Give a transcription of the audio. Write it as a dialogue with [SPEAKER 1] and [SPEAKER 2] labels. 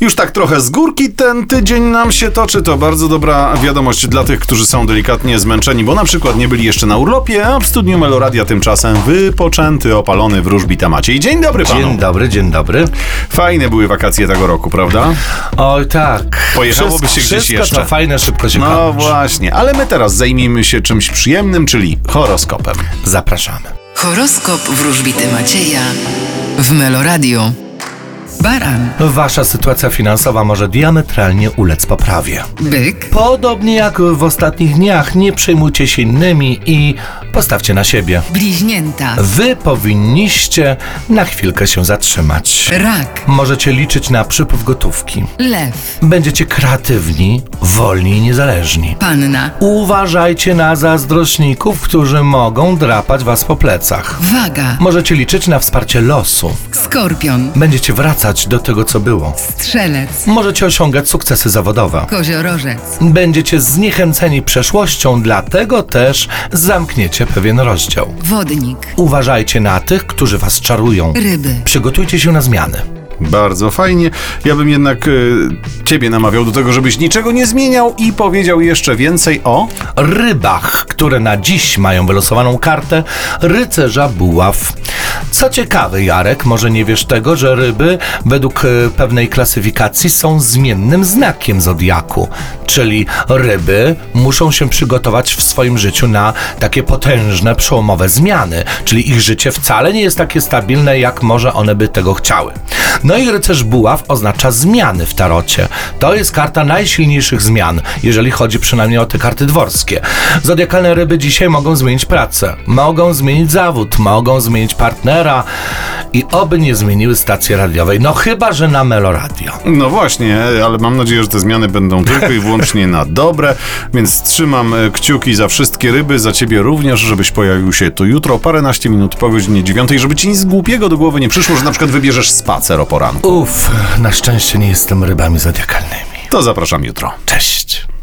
[SPEAKER 1] Już tak trochę z górki ten tydzień nam się toczy, to bardzo dobra wiadomość dla tych, którzy są delikatnie zmęczeni, bo na przykład nie byli jeszcze na urlopie, a w studniu Meloradia tymczasem wypoczęty, opalony wróżbita Maciej. Dzień dobry panu.
[SPEAKER 2] Dzień dobry, dzień dobry.
[SPEAKER 1] Fajne były wakacje tego roku, prawda?
[SPEAKER 2] Oj tak.
[SPEAKER 1] Pojechałoby się gdzieś
[SPEAKER 2] wszystko
[SPEAKER 1] jeszcze.
[SPEAKER 2] to fajne szybko się
[SPEAKER 1] No
[SPEAKER 2] kończy.
[SPEAKER 1] właśnie, ale my teraz zajmijmy się czymś przyjemnym, czyli horoskopem.
[SPEAKER 2] Zapraszamy.
[SPEAKER 3] Horoskop wróżbity Macieja w Meloradio. Baran,
[SPEAKER 2] Wasza sytuacja finansowa może diametralnie ulec poprawie.
[SPEAKER 3] byk,
[SPEAKER 2] Podobnie jak w ostatnich dniach, nie przejmujcie się innymi i postawcie na siebie.
[SPEAKER 3] bliźnięta,
[SPEAKER 2] Wy powinniście na chwilkę się zatrzymać.
[SPEAKER 3] rak,
[SPEAKER 2] Możecie liczyć na przypływ gotówki.
[SPEAKER 3] lew,
[SPEAKER 2] Będziecie kreatywni, wolni i niezależni.
[SPEAKER 3] panna,
[SPEAKER 2] Uważajcie na zazdrośników, którzy mogą drapać was po plecach.
[SPEAKER 3] waga,
[SPEAKER 2] Możecie liczyć na wsparcie losu.
[SPEAKER 3] skorpion,
[SPEAKER 2] Będziecie wracać do tego, co było.
[SPEAKER 3] strzelec,
[SPEAKER 2] Możecie osiągać sukcesy zawodowe.
[SPEAKER 3] koziorożec,
[SPEAKER 2] Będziecie zniechęceni przeszłością, dlatego też zamkniecie pewien rozdział.
[SPEAKER 3] wodnik,
[SPEAKER 2] Uważajcie na tych, którzy was czarują.
[SPEAKER 3] ryby.
[SPEAKER 2] Przygotujcie się na zmiany.
[SPEAKER 1] Bardzo fajnie. Ja bym jednak e, ciebie namawiał do tego, żebyś niczego nie zmieniał i powiedział jeszcze więcej o...
[SPEAKER 2] rybach, które na dziś mają wylosowaną kartę rycerza buław. Co ciekawe, Jarek, może nie wiesz tego, że ryby według e, pewnej klasyfikacji są zmiennym znakiem zodiaku, czyli ryby muszą się przygotować w swoim życiu na takie potężne, przełomowe zmiany, czyli ich życie wcale nie jest takie stabilne, jak może one by tego chciały. No i rycerz buław oznacza zmiany w tarocie. To jest karta najsilniejszych zmian, jeżeli chodzi przynajmniej o te karty dworskie. Zodiakalne ryby dzisiaj mogą zmienić pracę, mogą zmienić zawód, mogą zmienić partnera i oby nie zmieniły stacji radiowej. No chyba, że na Meloradio.
[SPEAKER 1] No właśnie, ale mam nadzieję, że te zmiany będą tylko i wyłącznie na dobre, więc trzymam e, kciuki za wszystkie ryby, za ciebie również, żebyś pojawił się tu jutro paręnaście minut po godzinie dziewiątej, żeby ci nic głupiego do głowy nie przyszło, że na przykład wybierzesz spacer o poranku.
[SPEAKER 2] Uff, na szczęście nie jestem rybami zodiakalnymi.
[SPEAKER 1] To zapraszam jutro.
[SPEAKER 2] Cześć.